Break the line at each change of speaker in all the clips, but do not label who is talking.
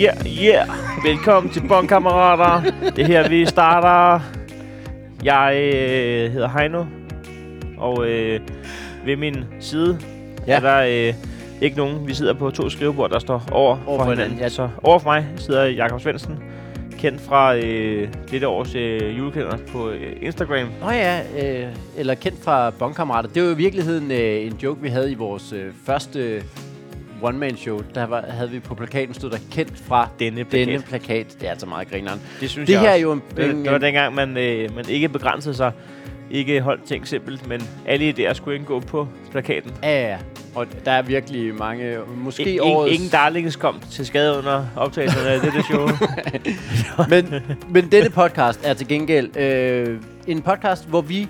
yeah, yeah. Velkommen til Bonkammerater. Det er her, vi starter. Jeg øh, hedder Heino, og øh, ved min side ja.
Ja.
er der øh, ikke nogen. Vi sidder på to skrivebord, der står over,
for
for
hinanden,
hinanden.
ja.
Så over for mig sidder Jakob Svendsen, kendt fra øh, dette års øh, julekalender på øh, Instagram.
Nå ja, øh, eller kendt fra Bonkammerater. Det var jo i virkeligheden øh, en joke, vi havde i vores øh, første one-man-show. Der var, havde vi på plakaten stod der kendt fra
Denne plakat.
denne plakat. Det er altså meget grineren.
Det synes
Det
jeg
her er
også.
jo en-
Det,
en-
det var
en-
dengang, man, øh, man ikke begrænsede sig. Ikke holdt ting simpelt, men alle idéer skulle indgå på plakaten.
Ja, ja. Og der er virkelig mange, måske
I,
årets...
ingen, ingen darlings kom til skade under optagelserne af dette show.
men, men denne podcast er til gengæld øh, en podcast, hvor vi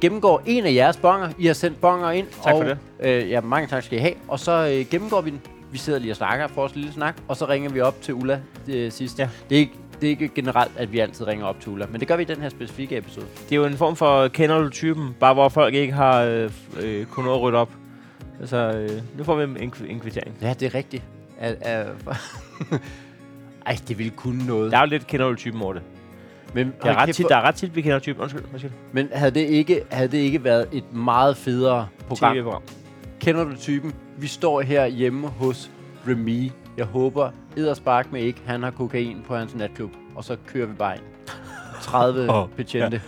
gennemgår en af jeres bonger. I har sendt bonger ind.
for
og,
det.
Øh, ja, mange tak skal I have. Og så øh, gennemgår vi den. Vi sidder lige og snakker, får os en lille snak, og så ringer vi op til Ulla øh, sidst.
Ja.
Det, er ikke, det er ikke generelt, at vi altid ringer op til Ulla, men det gør vi i den her specifikke episode.
det er jo en form for kender du typen, bare hvor folk ikke har øh, f- øh, kunnet nå at rydde op. Altså, øh, nu får vi en, en, kv- en kvittering.
Ja, det er rigtigt. Er, er, Ej, det ville kunne noget.
Der er jo lidt kender du typen over det.
Men,
Der er,
hold
ret
kæft,
tit,
hvor-
der er ret tit, vi kender typen. Undskyld, undskyld.
men havde det, ikke, havde det ikke været et meget federe program,
TV-program.
Kender du typen? Vi står her hjemme hos Remy. Jeg håber, Ederspark med ikke, han har kokain på hans natklub. Og så kører vi bare ind. 30
Åh,
oh, betjente.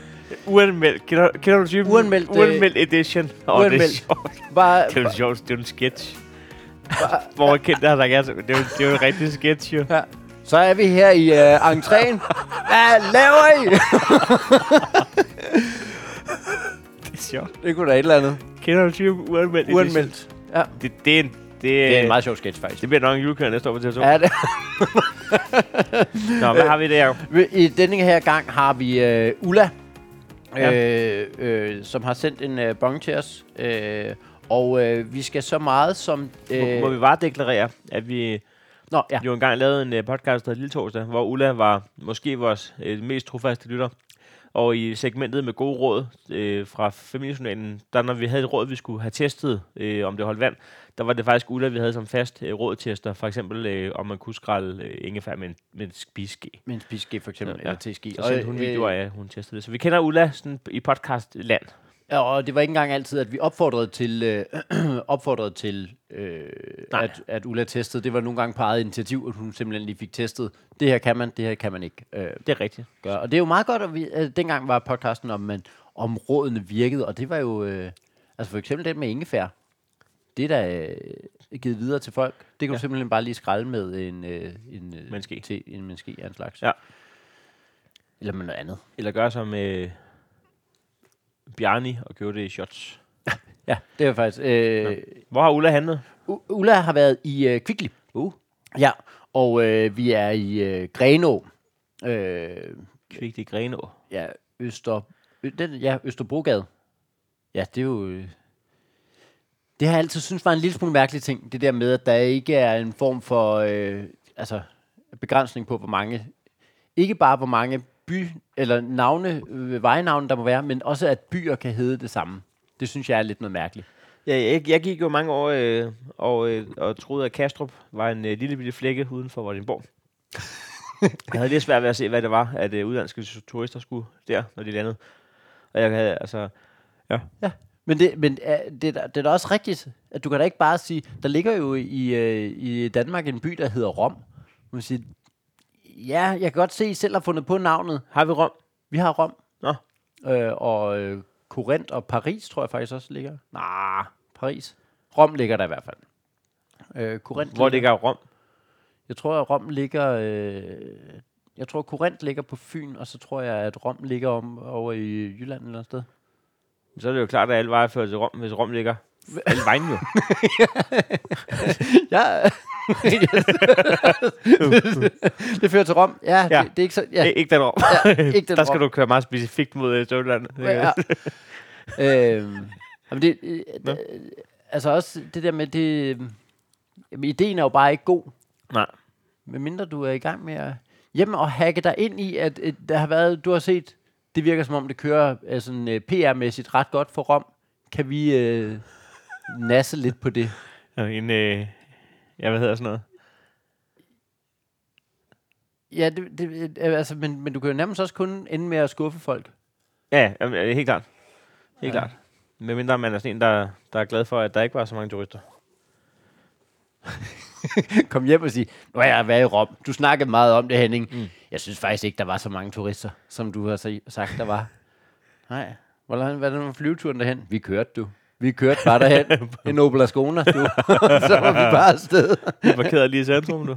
Uanmeldt. Kender, kender du typen?
Uanmeldt, øh,
Uanmeldt edition. Åh, det er
uanmeldt.
sjovt.
Bare,
Det er jo sjovt, det er jo en sketch. Hvor man kendte, der er, det, er jo, det er jo en rigtig sketch, jo.
ja. Så er vi her i uh, entréen. Hvad laver I?
Det er sjovt.
det kunne da et eller andet.
Kender du typen? Uanmeldt. edition.
Uanmeldt. Ja.
Det, det, er en, det,
Det er en meget sjov sketch, faktisk.
det bliver nok en julekalender, der står på TV2.
Ja, det.
Nå, hvad har vi der?
I denne her gang har vi øh, Ulla,
Ja.
øh, øh, som har sendt en øh, bong til os. Øh, og øh, vi skal så meget som... øh,
Må, må vi bare deklarere, at vi
Nå, ja.
jo engang lavede en øh, podcast, der hed Lille Torsdag, hvor Ulla var måske vores øh, mest trofaste lytter. Og i segmentet med gode råd øh, fra familiejournalen, der når vi havde et råd, vi skulle have testet, øh, om det holdt vand, der var det faktisk Ulla, vi havde som fast øh, rådtester. For eksempel, øh, om man kunne skralde øh, ingefær med en, med en spiske.
Med en spiske for eksempel,
Ja,
ja,
ja.
eller teski.
Så sendte hun
øh,
videoer af, at hun testede det. Så vi kender Ulla sådan, i podcastland.
Ja, og det var ikke engang altid, at vi opfordrede til, øh, opfordrede til øh,
Nej.
at, at Ulla testede. Det var nogle gange på eget initiativ, at hun simpelthen lige fik testet. Det her kan man, det her kan man ikke øh,
Det er rigtigt.
gøre. Og det er jo meget godt, at vi, øh, dengang var podcasten om, men, om rådene virkede, og det var jo... Øh, altså for eksempel den med ingefær. Det er da øh, givet videre til folk. Det kan ja.
Ja.
du simpelthen bare lige skralde med en... Øh, en øh,
Med en ske.
Te, en menneske af en slags.
Ja.
Eller med noget andet.
Eller gøre som øh, Bjarni og købe det i shots.
Ja, det er faktisk... Øh,
Hvor har Ulla handlet?
U- Ulla har været i øh, Kvickly.
Uh.
Ja, og øh, vi er i øh, Grenå. Øh,
Kvigt i Grenå.
ja, Øster, ø, den, ja, Østerbrogade. Ja, det er jo... Øh, det har jeg altid synes var en lille smule mærkelig ting. Det der med, at der ikke er en form for øh, altså, begrænsning på, hvor mange... Ikke bare, hvor mange by- eller navne, øh, vejnavne der må være, men også, at byer kan hedde det samme. Det synes jeg er lidt noget mærkeligt.
Ja, jeg, jeg gik jo mange år øh, og, øh, og troede, at Kastrup var en øh, lille bitte flække uden for Vordingborg. jeg havde lidt svært ved at se, hvad det var, at øh, udlandske turister skulle der, når de landede. Og jeg havde, altså,
Men, det, men er, det, er da- det er da også rigtigt, at du kan da ikke bare sige, der ligger jo i, øh, i Danmark en by, der hedder Rom. Man siger, ja, jeg kan godt se, I selv har fundet på navnet.
har vi Rom?
Vi har Rom.
Nå.
Øh, og øh, Korinth og Paris, tror jeg faktisk også ligger. Nej, Paris. Rom ligger der i hvert fald. Øh, Korinth
Hvor ligger Rom?
Jeg tror, at Rom ligger... Øh, jeg tror, Korinth ligger på Fyn, og så tror jeg, at Rom ligger om, over i Jylland eller et sted.
Så er det jo klart, at alle veje fører til Rom, hvis Rom ligger. Alle vejen jo.
Ja. det fører til Rom. Ja,
Ja.
ja. Det, det er ikke så... Ja,
Ik- ikke den Rom.
ikke den
der skal
Rom.
du køre meget specifikt mod øh, Sønderland.
Ja. øhm, jamen det, øh, d- altså også det der med, det, øh, jamen ideen er jo bare ikke god,
Nej.
medmindre du er i gang med at hjem og hacke dig ind i, at øh, der har været, du har set, det virker som om det kører øh, sådan, øh, PR-mæssigt ret godt for Rom. Kan vi øh, nasse lidt på det?
øh, En, øh, ja, hvad hedder sådan noget?
Ja, det, det, øh, altså, men, men du kan jo nærmest også kun ende med at skuffe folk.
Ja, jamen, ja, det er helt klart. Helt
Ja.
ja. klart. Med mindre man er sådan en, der, der er glad for, at der ikke var så mange turister.
Kom hjem og sige, nu har jeg været i Rom. Du snakkede meget om det, Henning. Mm. Jeg synes faktisk ikke, der var så mange turister, som du har se- sagt, der var. Nej. Hvordan, hvordan var flyveturen derhen? Vi kørte, du. Vi kørte bare derhen. en Opel Ascona, du. så var vi bare afsted.
Vi parkerede lige i centrum nu.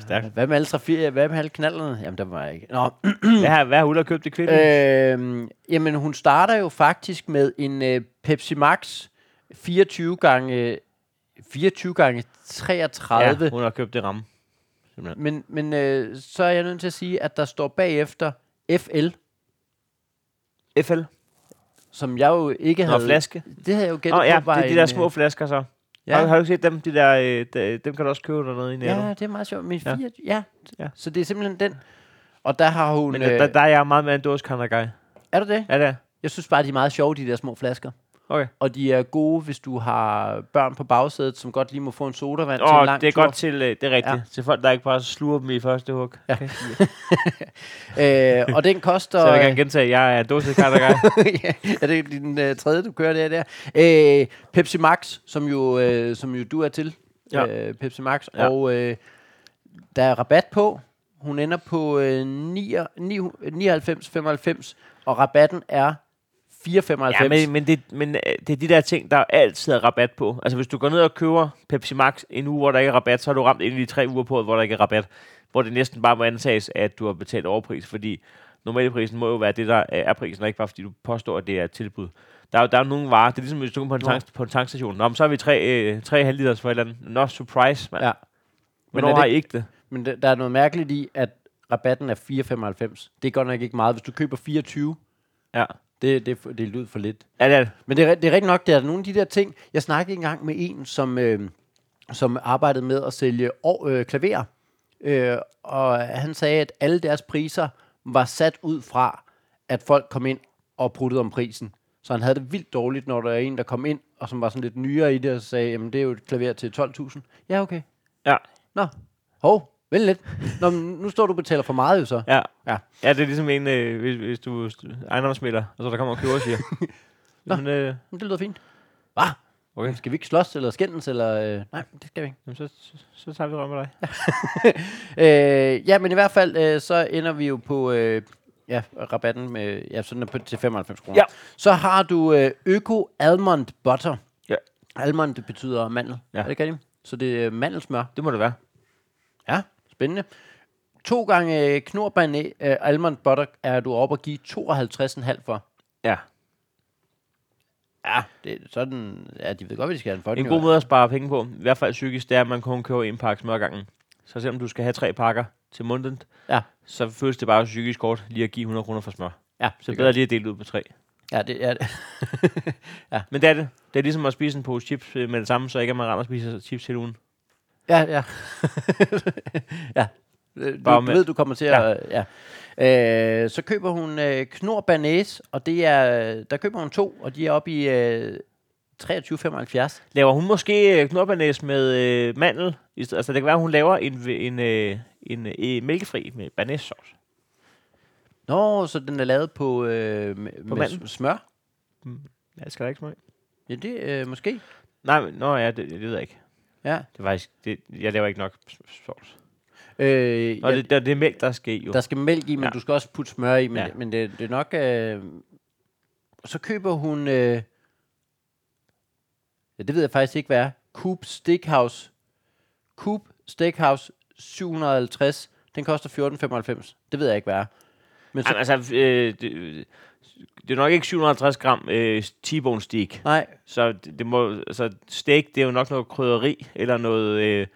Stærkt.
Hvad med alle trafik? Hvad med alle knallerne? Jamen, der var jeg ikke. Nå,
Hvad har, hvad har Ulla købt i kvinden?
Øhm, jamen, hun starter jo faktisk med en øh, Pepsi Max 24 gange 24 gange 33.
ja,
Ja.
hun har købt det ramme.
Men, men øh, så er jeg nødt til at sige, at der står bagefter FL,
FL?
som jeg jo ikke
Nå,
havde...
flaske.
Det havde jeg jo gættet
Nå ja,
på. var
det er de
en,
der
øh,
små flasker så. Ja. Har, du-
Ja,
har du ikke set dem? De der, øh, de, dem kan du også købe dernede i Netto.
ja,
Ja,
det er meget sjovt. Men
Ja.
fire, ja. Ja.
Ja.
Så det er simpelthen den. Og der har hun...
Men
øh,
øh, der, der, er jeg meget mere en dåse Kandagai.
Er du det?
Ja, det er.
Jeg synes bare, de er meget sjove, de der små flasker.
Okay.
Og de er gode, hvis du har børn på bagsædet, som godt lige må få en sodavand til en
Åh,
lang
det er
tur.
godt til, øh, det er rigtigt.
Ja.
Ja. Til folk, der ikke bare sluger dem i første hug. Ja. Okay.
Øh, og den koster...
Så Altså, jeg vil gerne gentage, at jeg er en dåse Kandagai.
ja, er det din øh, tredje, du kører der? der? Øh, Pepsi Max, som jo, øh, som jo du er til.
Ja.
Øh, Pepsi Max. Ja.
Ja.
Og øh, der er rabat på. Hun ender på øh, 9, 99,95. Og rabatten er 4,95.
Ja, men, men, det, men øh, det er de der ting, der altid er rabat på. Altså, hvis du går ned og køber Pepsi Max en uge, hvor der ikke er rabat, så har du ramt ind i de tre uger på, hvor der ikke er rabat. Hvor det næsten bare må antages, at du har betalt overpris, fordi normalprisen må jo være det, der øh, er prisen, og ikke bare fordi du påstår, at det er et tilbud. Der er jo der er jo nogle varer, det er ligesom hvis du går på en,
Nå.
tank, på en tankstation. Nå, men så har vi tre, øh, tre halvliters for et eller andet. Nå, surprise, mand.
Ja.
Ja.
Men
Hvornår
er det
har I ikke det?
Men der, der er noget mærkeligt i, at rabatten er 4,95. Det er godt nok ikke meget. Hvis du køber 24,
Ja.
det, det, er for- det lyder for lidt.
Ja, det er det.
Men det er, ri- det er rigtigt nok, det er nogle af de der ting. Jeg snakkede engang med en, som, øh, som arbejdede med at sælge år, øh, klaver. Øh, og han sagde, at alle deres priser var sat ud fra, at folk kom ind og pruttede om prisen. Så han havde det vildt dårligt, når der er en, der kom ind, og som var sådan lidt nyere i det, og sagde, jamen det er jo et klaver til 12.000. Ja, okay.
Ja.
Nå, hov, vel lidt. Nå, men nu står du og betaler for meget jo så.
Ja.
Ja.
ja, det er ligesom en, øh, hvis, hvis du er ejendomsmælder, og så der kommer og køber og siger. Jamen, øh,
Men det lyder fint. Hva?
Okay.
Skal vi ikke slås eller skændes? Eller, øh, nej, det skal vi ikke.
Jamen, så, så, så tager vi røven med dig.
Øh, ja, men i hvert fald, øh, så ender vi jo på øh, ja, rabatten med, ja, sådan er på, til 95 kroner.
Ja.
Så har du øh, Øko Almond Butter.
Ja.
Almond det betyder mandel.
Ja.
Er det ikke rigtigt? Så det er øh, mandelsmør.
Det må det være.
Ja, spændende. To gange øh, knorbané øh, Almond Butter er du oppe og give 52,5 for.
Ja.
Ja, det er sådan, ja, de ved godt, hvad de skal have den for.
En
den
god
jo.
måde at spare penge på, i hvert fald psykisk, det er, at man kun køber en pakke smør ad gangen. Så selvom du skal have tre pakker til måneden,
Ja.
så føles det bare psykisk kort lige at give 100 kroner for smør.
Ja,
Så
det
det
er
er bedre lige at dele det ud på tre.
godt. Ja, det er det.
Men det er det. Det er ligesom at spise en pose chips øh, med det samme, så ikke at man render og spiser chips hele ugen.
Ja, ja. ja. Øh, Du
Bare med-
ved, du kommer til
Ja.
at... Ja. Øh, så køber hun øh, knor banæs, og det er, der køber hun to, og de er oppe i øh, 23,75.
Laver hun måske øh, knorbanæs med øh, mandel? i stedet- Altså det kan være, hun laver en, en, øh, en, øh, en mælkefri med banæssauce.
Nå, så den er lavet på, øh, med, med
manden.
s- smør.
Ja, det skal der ikke smør i.
Ja, det øh, måske.
Nej, men, nå ja, det, det ved jeg ikke.
Ja.
Det er faktisk, det, jeg laver ikke nok s- sovs.
Øh,
Nå,
ja,
det, det, det er mælk, der skal i, jo.
Der skal mælk i, men ja.
Ja.
du skal også putte smør i. Men, ja.
Ja.
men det, det er nok... Øh, så køber hun... Øh, ja, det ved jeg faktisk ikke, hvad er. Coop Steakhouse. Coop Steakhouse 750. Den koster 14,95. Det ved jeg ikke, hvad er. Men så,
Jamen, altså, øh, det, det er nok ikke 750 gram øh, T-bone steak.
nej,
Så det, det må, altså, steak, det er jo nok noget krydderi, eller noget, øh,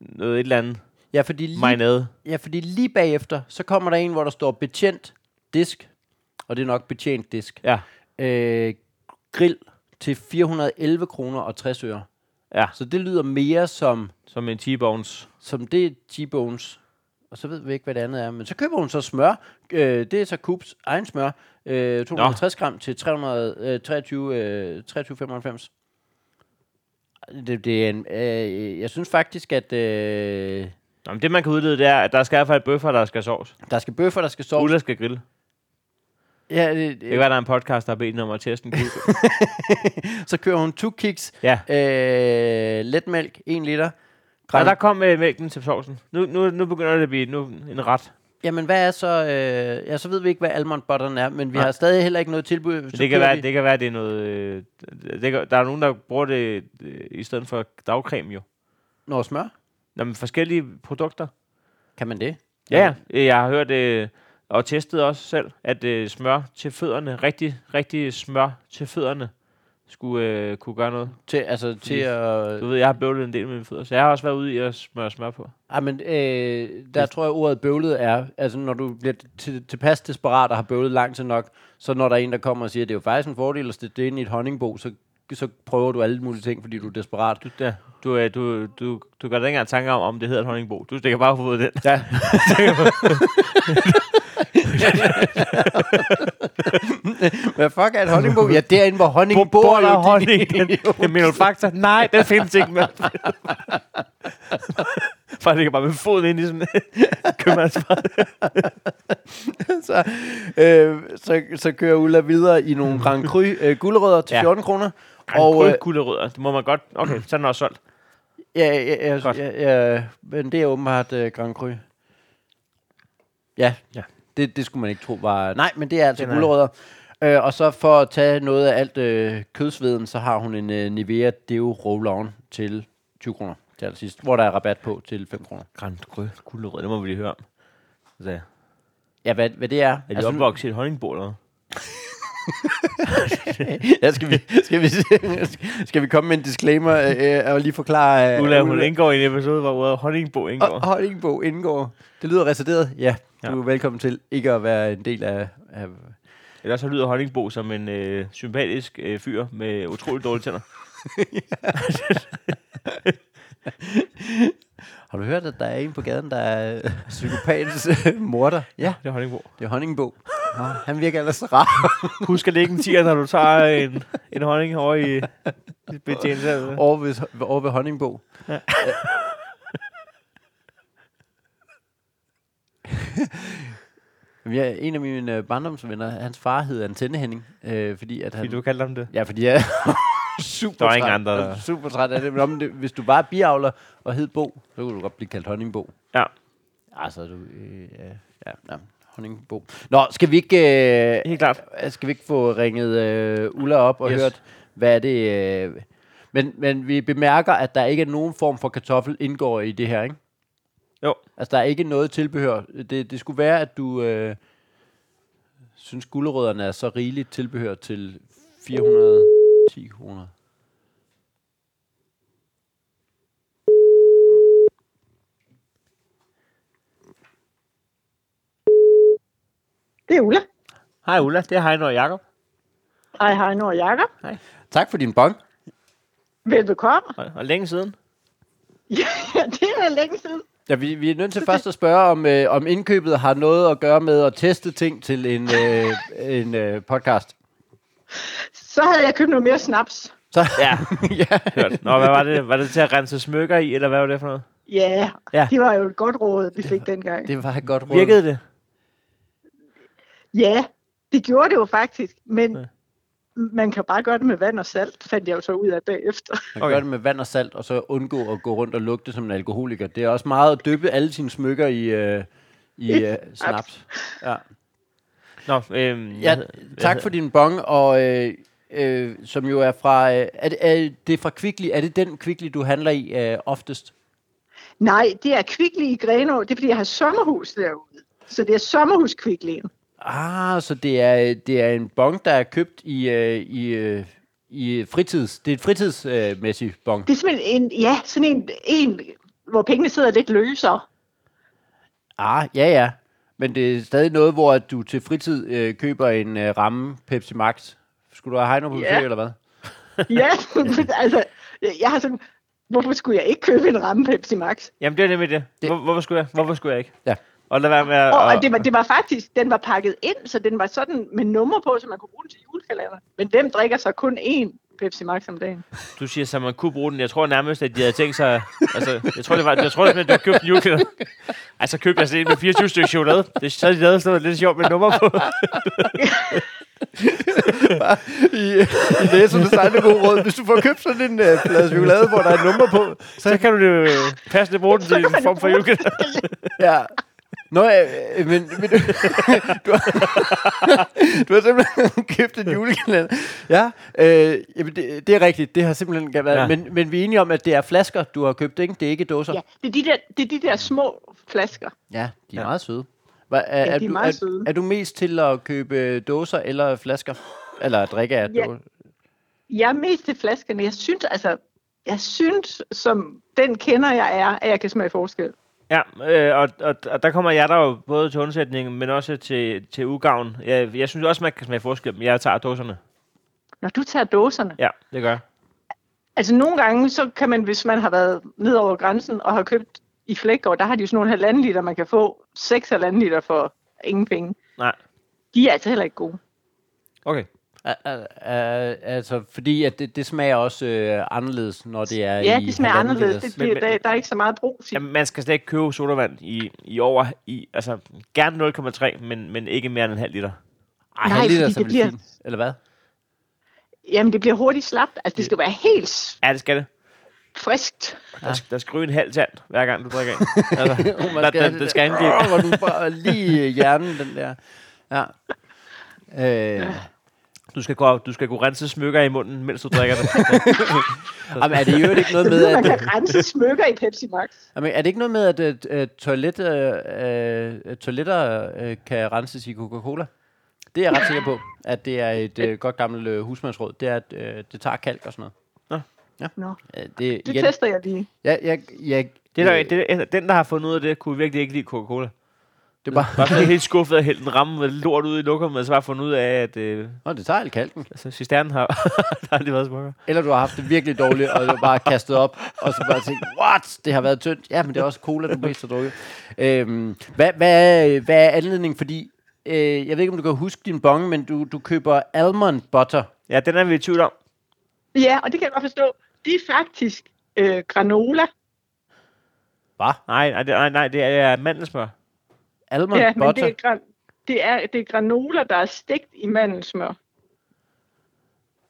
noget et eller andet
ja fordi, lige,
marinade.
ja, fordi lige bagefter, så kommer der en, hvor der står betjent disk. Og det er nok betjent disk.
Ja,
øh, grill til 411 kroner og 60 øre.
Ja.
Så det lyder mere som,
som en T-bones.
som det T-bones. Og så ved vi ikke, hvad det andet er. Men så køber hun så smør. Øh, det er så Coops egen smør. Øh, 250 gram til 300, øh, 23, øh, 23,95. Det, det er en, øh, jeg synes faktisk, at øh,
Nå, men det, man kan udlede, det er, at der skal i hvert fald bøffer, der skal sovs.
der skal bøffer, der skal sove.
Ulla skal grille.
Ja, øh, det,
Det kan
det,
være, der er en podcast, der har bedt hende om at teste en kugle.
så kører hun two kicks,
ja.
øh, letmælk, 1 liter.
Og
Gran,
der kom øh, mælken til sovsen. Nu, nu, nu begynder det at blive nu, en ret.
Jamen, hvad er så... Øh, ja, så ved vi ikke, hvad almond butteren er, men vi
Nej.
har stadig heller ikke noget tilbud. Så
Det
kører
kan, være,
vi-
det kan være, det er noget... Øh, det kan, der er nogen, der bruger det øh, i stedet for dagcreme jo.
Nå, smør?
Nå, men forskellige produkter.
Kan man det?
Ja, ja. Jeg har hørt øh, og testet også selv, at øh, smør til fødderne, rigtig, rigtig smør til fødderne, skulle øh, kunne gøre noget.
Til, altså, til
Fordi-
at...
Du ved, jeg har bøvlet en del med mine fødder, så jeg har også været ude i at smøre smør på.
Ej, men øh, der tror jeg, ordet bøvlet er, altså når du bliver til, tilpas desperat og har bøvlet langt til nok, så når der er en, der kommer og siger, det er jo faktisk en fordel at stikke det ind i et honningbo, så, så prøver du alle mulige ting, fordi du er desperat.
Du, ja, du, øh, du, du, du gør dig ikke engang tanker om, om det hedder et honningbo. Du stikker bare hovedet den.
Ja. Hvad fuck er et honningbo? Ja, derinde, hvor honningen bor,
Bor
jo,
der
din
honning?
idiot.
Den Menofaktor? Nej, den findes ikke med. Bare ligger bare med foden ind i sådan købmandsfart.
så, øh, så, så kører Ulla videre i nogle Grand Cru øh, gulerødder til
Ja.
14 kroner.
Og
Og, øh,
øh, det må man godt. Okay, så er den også solgt.
Ja, ja, ja,
Godt.
ja, ja men det er åbenbart uh, Grand Cru. Ja,
Ja.
Det, det skulle man ikke tro var... Nej, men det er altså
Den er-
gulerødder. Øh, og så for at tage noget af alt øh, kødsveden, så har hun en øh, Nivea Deo Roll-On til 20 kroner til allersidst, hvor der er rabat på til 5 kroner.
Grand Grød, gulerød, det må vi lige høre om. Så, er
Ja, hvad, hvad det er?
de altså, opvokset i et honningbord eller hvad?
ja, skal, vi, skal, vi, skal vi komme med en disclaimer øh, øh, og lige forklare...
Ulla, hun indgår i en episode, hvor ordet honningbo indgår.
Og Hollingbog indgår. Det lyder resideret. Ja, du
Ja.
er velkommen til ikke at være en del af... af
Ellers så lyder honningbo som en øh, sympatisk øh, fyr med utrolig dårlige tænder.
har du hørt, at der er en på gaden, der er øh, psykopatisk øh, morder? Ja,
Det er honningbo.
det er Hollingbog. Nå, han virker ellers rar.
Husk at lægge en tiger, når du tager en, en honning over i, i betjeningen.
over ved, over ved Honningbog. Øh.
Ja.
Jamen, Jeg, en af mine øh, barndomsvenner, hans far hed Antenne Henning, øh, fordi at han...
Vil du kalde ham det?
Ja, fordi jeg er super
Der var ingen
træt-
andre, der-
jeg er super træt af det. Men om det, hvis du bare er biavler og hed Bo, så kunne du godt blive kaldt Honningbo.
Ja.
Altså, du... Øh, ja, ja, ja, Honningbo. Nå, skal vi ikke... Øh,
Helt klart.
Øh, Skal vi ikke få ringet øh, Ulla op og yes.
Yes.
hørt, hvad er det... Øh, men, men vi bemærker, at der ikke er nogen form for kartoffel indgår i det her, ikke?
Jo.
Altså, der er ikke noget tilbehør. Det, det skulle være, at du øh, synes, gulerødderne er så rigeligt tilbehør til 410 kroner.
Det er Ulla.
Hej Ulla, det er Heino og Jacob.
Hej, hej, Nord Jakob.
Tak for din bong.
Velbekomme.
Og, og længe siden.
Ja, det er længe siden.
Ja, vi, vi er nødt til først at spørge, om, øh, om indkøbet har noget at gøre med at teste ting til en, øh, en øh, podcast.
Så havde jeg købt noget mere snaps.
Så,
Ja,
ja.
hørt. Nå, hvad var det? Var det til at rense smykker i, eller hvad var det for noget?
Ja,
Ja.
ja. det var jo et godt råd, vi fik dengang.
Det var et godt råd.
Virkede det?
Ja, det gjorde det jo faktisk, men
Ja.
ja. man kan bare gøre det med vand og salt, fandt jeg jo så ud af bagefter.
Man okay. gør det med vand og salt, og så undgå at gå rundt og lugte som en alkoholiker. Det er også meget at dyppe alle sine smykker i, øh, i øh, snaps. Ja.
Nå, øhm,
ja, tak for din bong, og øh, øh, som jo er fra... Øh, er, det, er det fra Kvickly? Er det den Kvickly, du handler i øh, oftest?
Nej, det er kvickly i Grenå, det er fordi, jeg har sommerhus derude. Så det er sommerhuskvicklen.
Ah, så det er, det er en bong, der er købt i, øh, i, øh, i fritids... Det er et fritidsmæssigt øh, mæssig bong.
Det er simpelthen en, ja, sådan en, en hvor pengene sidder lidt løsere.
Ah, ja, ja. Men det er stadig noget, hvor at du til fritid øh, køber en øh, ramme Pepsi Max. Skulle du have Heino på besøg,
Ja.
eller hvad?
Ja, altså, jeg jeg har sådan, hvorfor skulle jeg ikke købe en ramme Pepsi Max?
Jamen, det er nemlig det.
Det-
Hvor, hvorfor, skulle jeg? hvorfor skulle jeg ikke?
Ja.
Og lad være med at...
Og, og det, var, det var faktisk, den var pakket ind, så den var sådan med nummer på, så man kunne bruge den til julekalender. Men hvem drikker så kun én Pepsi Max om dagen.
Du siger, at man kunne bruge den. Jeg tror nærmest, at de havde tænkt sig... Altså, jeg tror, det var, jeg tror, det var, at du købte en julekalender. Ej, så købte jeg sådan en med 24 stykker chokolade. Det så havde de lavet sådan noget lidt sjovt med nummer på.
I, i læser det sejle gode råd. Hvis du får købt sådan en
øh,
uh, plade chokolade, hvor der er et nummer på,
Så kan du øh, passende bruge den til en form for julekalender.
ja,
Nå, øh, øh, men, men du, du, har, du har simpelthen købt en julekalender. Ja, øh, jamen det, det er rigtigt. Det har simpelthen været... Ja.
Ja.
Men, men vi er enige om, at det er flasker, du har købt, ikke? Det er ikke dåser.
Ja, det er de der, det er de der små flasker.
Ja, de er ja.
Ja.
meget søde. Hva, er,
de
er,
er
du,
meget
er,
søde.
er du mest til at købe øh, dåser eller flasker? Eller drikke af
Ja.
dåser?
Jeg er mest til flaskerne. Jeg synes, altså, jeg synes, som den kender jeg er, at jeg kan smage forskel.
Ja, øh, og, og, og, der kommer jeg der jo både til undsætningen, men også til, til udgaven. Jeg, jeg synes også, man kan smage forskel, men jeg tager dåserne.
Når du tager dåserne.
Ja, det gør jeg.
Altså nogle gange, så kan man, hvis man har været ned over grænsen og har købt i Flækgaard, der har de jo sådan nogle halvanden liter, man kan få seks halvanden liter for ingen penge.
Nej.
De er altså heller ikke gode.
Okay.
Al- al- al- Altså, fordi at det, det smager også øh, anderledes, når det er
Ja,
i
de smager
halvanden
anderledes.
liters.
Det, det,
Men-
der, der er ikke så meget brug til.
Jamen, man skal slet ikke købe sodavand i, i over, i, altså gerne 0,3, men, men ikke mere end en halv liter.
Ej,
Nej,
halv liter
fordi
er
det
simpelthen
bliver-
fint. Eller hvad?
Jamen, det bliver hurtigt slapt. Altså, det skal være helt s-
Ja, det skal det.
friskt.
Der, sk- der skal ryge en halv tand, hver gang du drikker en. Altså,
Oh,
der, der, der skal angive.
Åh, hvor du bare lige i hjernen, den der. Ja. Øh,
Du skal, gå, du skal kunne rense smykker i munden, mens du drikker det.
jamen, er det jo ikke noget med,
Man
at,
kan rense smykker i Pepsi Max.
jamen, er det ikke noget med, at, at, at toilet, øh, øh, toiletter øh, kan renses i Coca-Cola? Det er jeg ret sikker på, at det er et øh, godt gammelt øh, husmandsråd. Det er, at øh, det tager kalk og sådan
Nå.
noget. Ja.
Nå.
Øh, det,
Det
igen,
tester jeg lige.
jeg, jeg, jeg,
Det er der,
øh,
det, er- den, der har fundet ud af det, kunne virkelig ikke lide Coca-Cola.
det er bare,
Bare blevet helt skuffet og hældt en ramme med lort ud i lukkeren, og så bare fundet ud af, at øh,
Nå, det tager al kalken.
altså, cisternen har, der har aldrig været smukker.
Eller du har haft det virkelig dårligt, og du har bare kastet op, og så bare tænkt, what, det har været tyndt. Ja, men det er også cola, du mest har drukket. Øhm, hvad, hvad, er- hvad er anledningen? Fordi, øh, jeg ved ikke, om du kan huske din bong, men du, du køber almond butter.
Ja, den er vi i tvivl om.
Ja, og det kan jeg godt forstå. Det er faktisk øh, granola.
Hvad?
Nej, nej, det- nej, nej det er mandelsmør.
Almond
Ja,
ja,
men
butter?
det er, gran, det, er, det er granola, der er stegt i mandelsmør.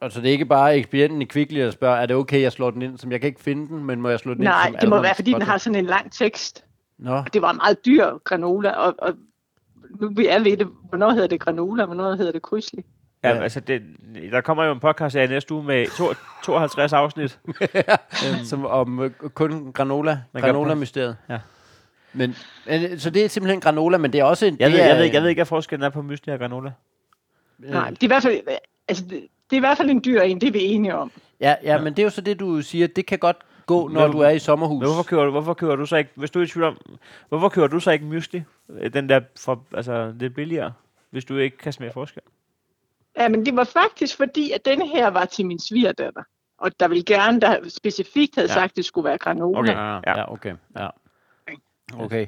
Altså, det er ikke bare ekspedienten i Kvickly, der spørger, er det okay, jeg slår den ind, som jeg kan ikke finde den, men må jeg slå den ind
Nej,
som
det må
almond
være, fordi den
butter?
har sådan en lang tekst.
Nå,
Og det var en meget dyr granola, og, og nu vi er ved det. Hvornår hedder det granola, og hvornår hedder det krydsli?
Ja,
Ja.
ja. altså, det, der kommer jo en podcast her i næste uge med to, 52 afsnit.
som om øh, kun granola,
Man gør
granola-mysteriet.
Ja.
Men, øh, så det er simpelthen granola, men det er også en...
Jeg,
det
ved,
er,
jeg, ved, ikke- jeg ved ikke, hvad forskellen er på mysli og granola.
øh,
Nej, det er i hvert fald... Altså, det, det er i hvert fald en dyr en, det er vi enige om.
Ja, ja, ja, men det er jo så det, du siger. Det kan godt gå, når
Men-
du er i sommerhus.
Men hvorfor kører, du- hvorfor kører du så ikke, hvis du er i tvivl om, hvorfor kører du så ikke mysli? Øh, Den der fra, altså, lidt billigere, hvis du ikke kan smage forskel.
Ja, men det var faktisk fordi, at denne her var til min svigerdatter. Og der ville gerne, der specifikt havde ja.
Ja.
sagt, at det skulle være granola.
Okay.
Ja,
Ja.
ja, okay. Ja. Okay.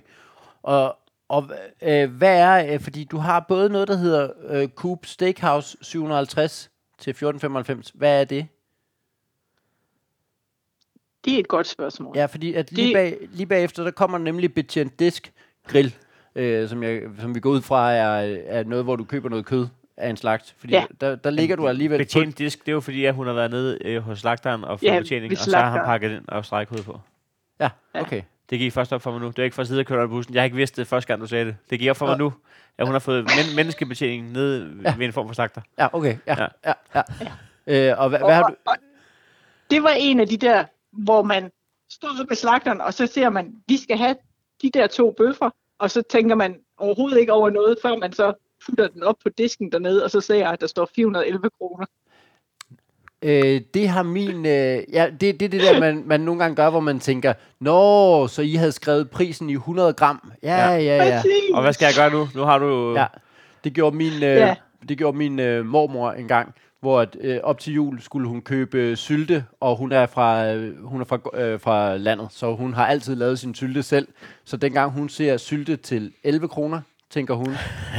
Og, og øh, hvad er... Øh, fordi du har både noget, der hedder øh, Coop Steakhouse 750 til 1495. Hvad er det?
Det er et godt spørgsmål.
Ja, fordi at lige,
Det-
bag, lige bagefter, der kommer nemlig betjent disk grill, øh, som, jeg, som vi går ud fra er, er noget, hvor du køber noget kød af en slags. Fordi ja.
Ja.
der, der ligger du alligevel... på-
Betjent disk, det er jo fordi, at hun har været nede øh, hos slagteren og fået
Ja,
ja,
ved
betjening, og så har han
slagteren.
pakket den og strækhovedet på.
Ja,
Ja.
okay.
Det gik først op for mig nu. Det var ikke for at sidde og køre under bussen. Jeg har ikke vidst det første gang, du sagde det. Det gik op for mig nu, at hun har fået men- menneskebetjening nede ja. ved en form for slagter.
Ja, okay. Ja, ja,
Ja.
ja. ja. Øh, og hvad, hvad har du...
Og, og det var en af de der, hvor man står ude ved slagteren, og så ser man, vi skal have de der to bøffer, og så tænker man overhovedet ikke over noget, før man så putter den op på disken dernede, og så ser jeg, at der står 411 kroner.
Øh, det har min... Øh, ja, det er det, det der, man, man nogle gange gør, hvor man tænker, Nå, så I havde skrevet prisen i 100 gram. Ja,
Ja.
ja, ja. ja.
Præcis.
Og hvad skal jeg gøre nu? Nu har du...
ja. Det gjorde min, øh, ja.
Ja.
det gjorde min øh, mormor engang, hvor at, øh, op til jul skulle hun købe øh, sylte, og hun er fra, øh, hun er fra, øh, fra landet, så hun har altid lavet sin sylte selv. Så dengang hun ser sylte til 11 kroner, tænker hun.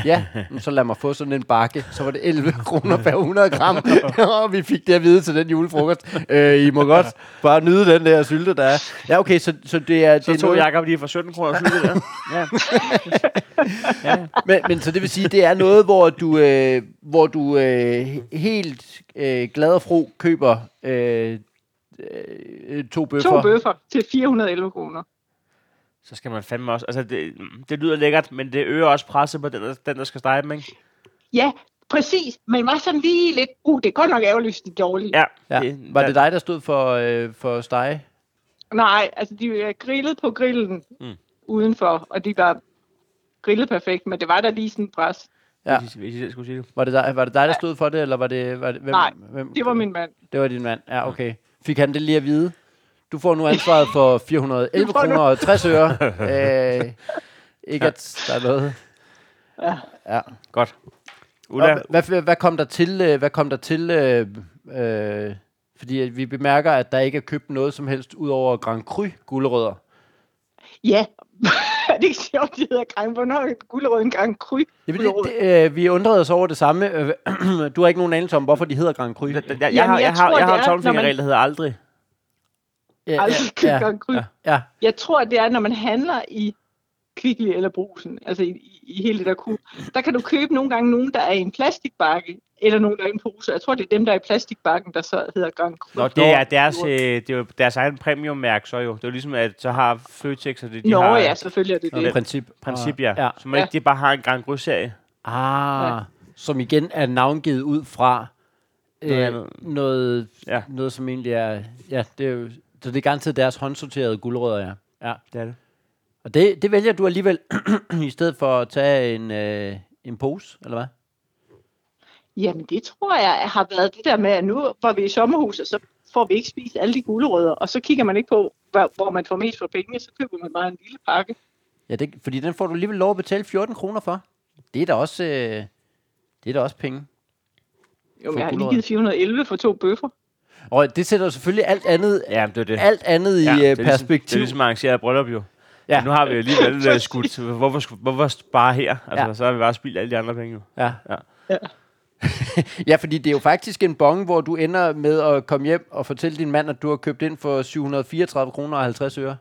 Ja, men så lad mig få sådan en bakke. Så var det 11 kroner per 100 gram. og vi fik det at vide til den julefrokost. Øh, I må godt bare nyde den der sylte, der er. Ja, okay, så, så det er... det
Så
er
tog
noget-
Jacob lige for 17 kroner og cyklede der.
Ja. ja. Men, men så det vil sige, det er noget, hvor du, øh, hvor du øh, helt øh, glad og fro køber øh, øh, to bøffer.
To bøffer til 411 kroner.
Så skal man fandme også... Altså, det, det lyder lækkert, men det øger også presset på den, der, den, der skal stege dem, ikke?
Ja, præcis. Men var sådan lige lidt, uh, det er godt nok ærgerligt, de er dårlige.
Ja.
Ja. Var det dig, der stod for, øh, for stege?
Nej, altså de er grillet på grillen
Mm.
mm. udenfor, og de var grillet perfekt, men det var der lige sådan en pres.
Ja. Hvis I, hvis I selv skulle sige det.
Var det dig, var det dig der stod for det, eller var det... Var det hvem,
Nej,
hvem,
Det var min mand.
Det var din mand. Ja, okay. Fik han det lige at vide? Du får nu ansvaret for 411
Du får nu-
kroner og 60 øre. Øh, ikke at der er noget.
Ja.
ja.
Godt. Ulla,
Hvad, hvad, hvad kom der til? øh, Hvad kom der til øh, øh, fordi at vi bemærker, at der ikke er købt noget som helst ud over Grand Cru gulerødder.
Ja, er det ikke sjovt, de hedder Grand Bornholm, gulerød en Grand Cru.
Det, det,
Gulerod.
det, øh, vi undrede os over det samme. Øh, Du har ikke nogen anelse om, hvorfor de hedder Grand Cru.
jeg, jeg, jeg, jeg, har,
jeg
jeg, har,
tror,
jeg har en
det er, når
tommelfingerregel,
man-
der hedder aldrig.
Ja,
Aldrig
ja,
ja,
ja,
Grand Cru.
ja.
ja.
Jeg tror, det er, når man handler i Kvickly eller Brusen, altså i, i, i hele det der kug, der kan du købe nogle gange nogen, der er i en plastikbakke, eller nogen, der er i en pose. Jeg tror, det er dem, der er i plastikbakken, der så hedder Grand Cru.
Nå, det er deres, øh, det er jo deres egen premiummærke, så jo. Det er jo ligesom, at så har Føtex, og det, de
Nå
har
ja, selvfølgelig er det
Noget
det.
princip.
princip, ja.
ja.
Så man ikke de bare har en Grand Cru-serie.
Ah,
Nej.
som igen er navngivet ud fra
Noget
øh,
andet.
noget,
Ja.
ja. noget, som egentlig er... Ja, det er jo, så det er garanteret deres håndsorterede guldrødder, ja. ja.
Det er det.
Og det, det vælger du alligevel, i stedet for at tage en, øh, en pose, eller hvad?
Jamen det tror jeg har været det der med, at nu var vi i sommerhuset, så får vi ikke spist alle de gulerødder, og så kigger man ikke på, hvor, hvor man får mest for pengene, så køber man bare en lille pakke.
Ja, det, fordi den får du alligevel lov at betale 14 kroner for. Det er da også, øh, det er da også penge. For
Jo, men jeg har lige
gulerødder.
givet 411 for to bøffer.
Og det sætter jo selvfølgelig alt andet,
Ja, det er det.
alt andet
Ja,
i
det er
øh, perspektiv.
Ligesom, det er ligesom arrangeret bryllup jo. Ja.
Ja.
Nu har vi jo alligevel øh, skudt. så Hvorfor, sku- hvorfor bare her? Altså, ja.
Ja.
så har vi bare spildt alle de andre penge jo.
Ja.
Ja.
Ja.
ja, fordi det er jo faktisk en bong, hvor du ender med at komme hjem og fortælle din mand, at du har købt ind for 734 kroner og 50 øre.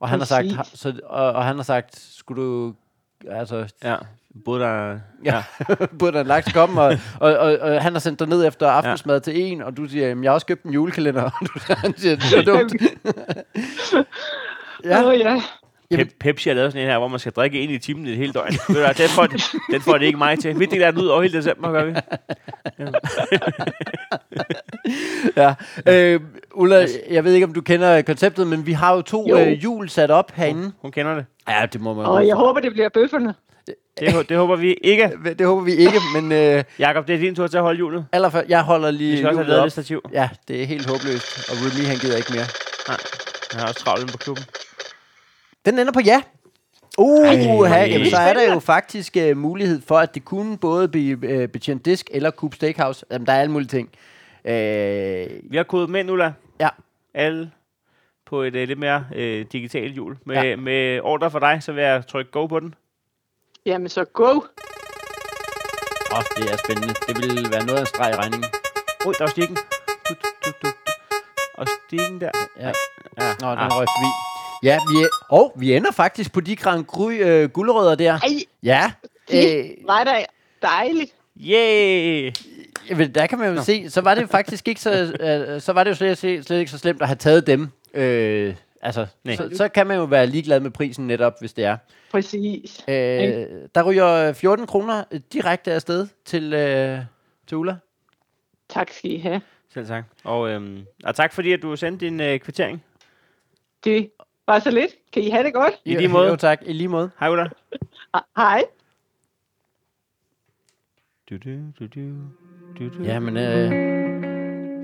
Og han, har sagt,
Præcis.
ha- så, og, og han har sagt, skulle du... Altså,
Ja. Både der...
ja, burde han lagt komme, og, og, og, og, han har sendt dig ned efter aftensmad til en, og du siger, jamen, jeg har også købt en julekalender, og du, han siger, det er dumt.
Ja.
ja,
Oh, ja.
Jamen-
Pe- Pepsi har lavet sådan en her, hvor man skal drikke en i timen et helt døgn. Ved du hvad, den, får, den får det ikke mig til. Vi deler den ud over hele december, gør vi.
ja. Øh, Ulla, jeg ved ikke, om du kender konceptet, men vi har jo to
Jo.
øh, jul sat op herinde.
Hun kender det.
Ja, det må man
Og jeg håber, det bliver bøfferne.
Det, hå- det håber vi ikke.
Det håber vi ikke, men øh,
Jakob, det er din tur til at holde julet.
allerførst, jeg holder lige
Vi skal også have
hjulet
lavet
op.
lidt stativ.
Ja, det er helt håbløst, og Remy han gider ikke mere.
Jeg har også travlt inde på klubben.
Den ender på ja. Uh,
Ej.
ha, jamen, så er der jo faktisk uh, mulighed for, at det kunne både blive uh, betjent disk eller Coop Steakhouse. Jamen, der er alle mulige ting. Uh,
Vi har kodet mænd, Ulla.
ja,
Alle på et øh, lidt mere øh, digitalt hjul. Med, ja.
Ja.
med ordre for dig, så vil jeg trykke go på den.
Jamen så go.
oh, det er spændende. Det ville være noget af en streg i regningen.
Ui, der er stikken. Du, du, du, du. Og stikken der.
Ja.
Ja.
Nå, den røg forbi. Ja, vi, er, og vi ender faktisk på de Grand Cru uh, guldrødder der.
Ej,
Ja, øh,
det var da dejligt.
Yeah!
Jamen, øh, der kan man jo Nå. se, så var det faktisk ikke så, øh, så var det jo slet, slet slet ikke så slemt at have taget dem. Øh, altså,
Nej.
så, så kan man jo være ligeglad med prisen netop, hvis det er.
Præcis.
Øh, der ryger 14 kroner øh, direkte afsted til, øh, til Ulla.
Tak skal I have.
Selv tak. Og, øhm, og tak fordi, at du sendte din øh, kvittering.
Det var så lidt. Kan I have det godt?
I lige måde.
Jo, tak. I lige måde.
Hej, Ulla.
Ah, Hej.
Du, du, du, du, du, du.
Jamen, øh,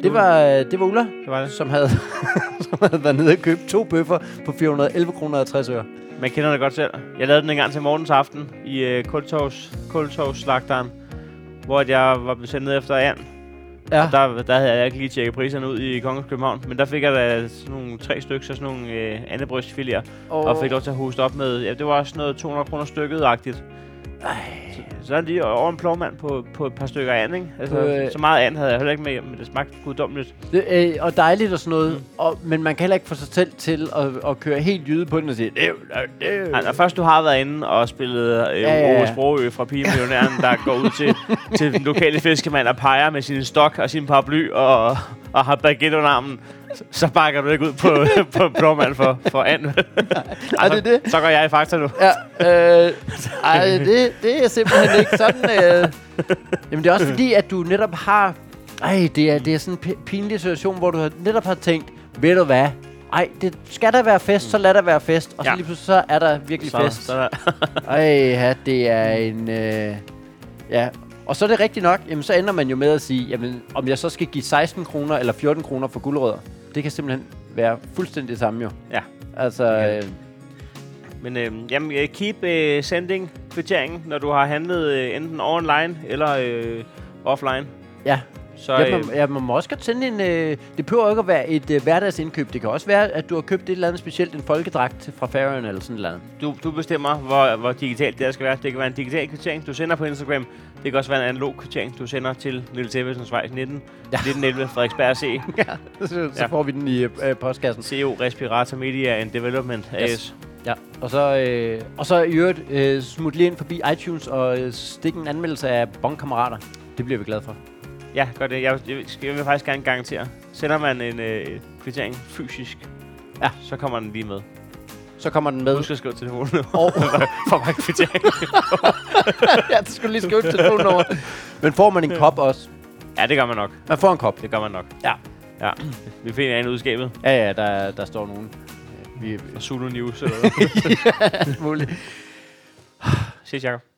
det, var, øh, det var Ulla,
Det var det.
som havde, som havde været nede og købt to bøffer på 411 kroner og 60 øre.
Man kender det godt selv. Jeg lavede den en gang til morgens aften i øh, Kultovs, Kultovs-slagteren, hvor at jeg var blevet sendt ned efter and.
Ja,
Der, der havde jeg ikke lige tjekket priserne ud i Kongens København, men der fik jeg da sådan nogle tre stykker, så sådan nogle øh, andebrystfiléer, og fik lov til at hoste op med, ja, det var også noget 200 kroner stykket-agtigt. Så er lige over en plovmand på, på et par stykker and, ikke? Altså,
På, øh,
så meget and havde jeg heller ikke med, men det smagte guddommeligt.
Det, øh, og dejligt og sådan noget, og, men man kan heller ikke få sig selv til at, at køre helt jyde på den og sige, det er jo- det er jo- det er jo-"
Ej, Når først du har været inde og spillet øh,
Ja,
ja,
ja, ja.
ja, ja. fra pigemillionæren, der går ud til, til den lokale fiskemand og peger med sin stok og sin paraply og, og har baguette under armen, så- så bakker du ikke ud på, på en plovmand for, for and. Altså,
Ej, det er det.
Så går jeg i fakta nu.
Ja, øh, ej, det, det er simpelthen ikke sådan. Øh. Jamen, det er også fordi, at du netop har... Ej, det er, det er sådan en pi- pinlig situation, hvor du har- netop har tænkt, ved du hvad? Ej, det skal der være fest, så lad der være fest. Og så
Ja.
lige pludselig, så er der virkelig
Så,
fest.
så er der,
Ej, ja, det er en... Øh, ja, og så er det rigtigt nok, jamen, så ender man jo med at sige, jamen, om jeg så skal give 16 kroner eller 14 kroner for guldrødder. Det kan simpelthen være fuldstændig det samme jo.
ja.
Altså,
Ja.
øh,
Men øh, jamen, øh, keep øh, sending kvitteringen, når du har handlet øh, enten online eller øh, offline.
ja.
Så,
Ja,
øh,
man, ja, man må også godt sende en... Øh, det behøver ikke at være et øh, hverdagsindkøb. Det kan også være, at du har købt et eller andet specielt, en folkedragt fra Færøerne eller sådan et eller andet.
Du, du bestemmer, hvor, hvor digitalt det her skal være. Det kan være en digital kvittering, du sender på Instagram. Det kan også være en analog kvittering, du sender til Lille Tevesens Vej 19. Ja. 1911 Frederiksberg C.
Ja, så, så
Ja.
får vi den i øh, postkassen.
CO Respirator Media and Development AS.
Yes. Ja, og så, øh, og så i øvrigt øh, smut lige ind forbi iTunes og øh, stik en anmeldelse af Bonkammerater. Det bliver vi glade for.
Ja, gør det. Jeg, jeg, skal- jeg vil faktisk gerne garantere. Sender man en øh, kvittering fysisk,
Ja.
så kommer den lige med.
Så kommer den med.
Husk at skrive telefonen.
Og,
For mange kvitteringer.
ja, det skulle lige skrive et telefonnummer. Men får man en kop også?
ja, det gør man nok.
Man får en kop.
Det gør man nok.
Ja.
Ja. Vi finder en udskabet.
Ja, ja, der, der står nogen. Vi
Og Zulu News eller noget.
muligt.
Ses, Jacob.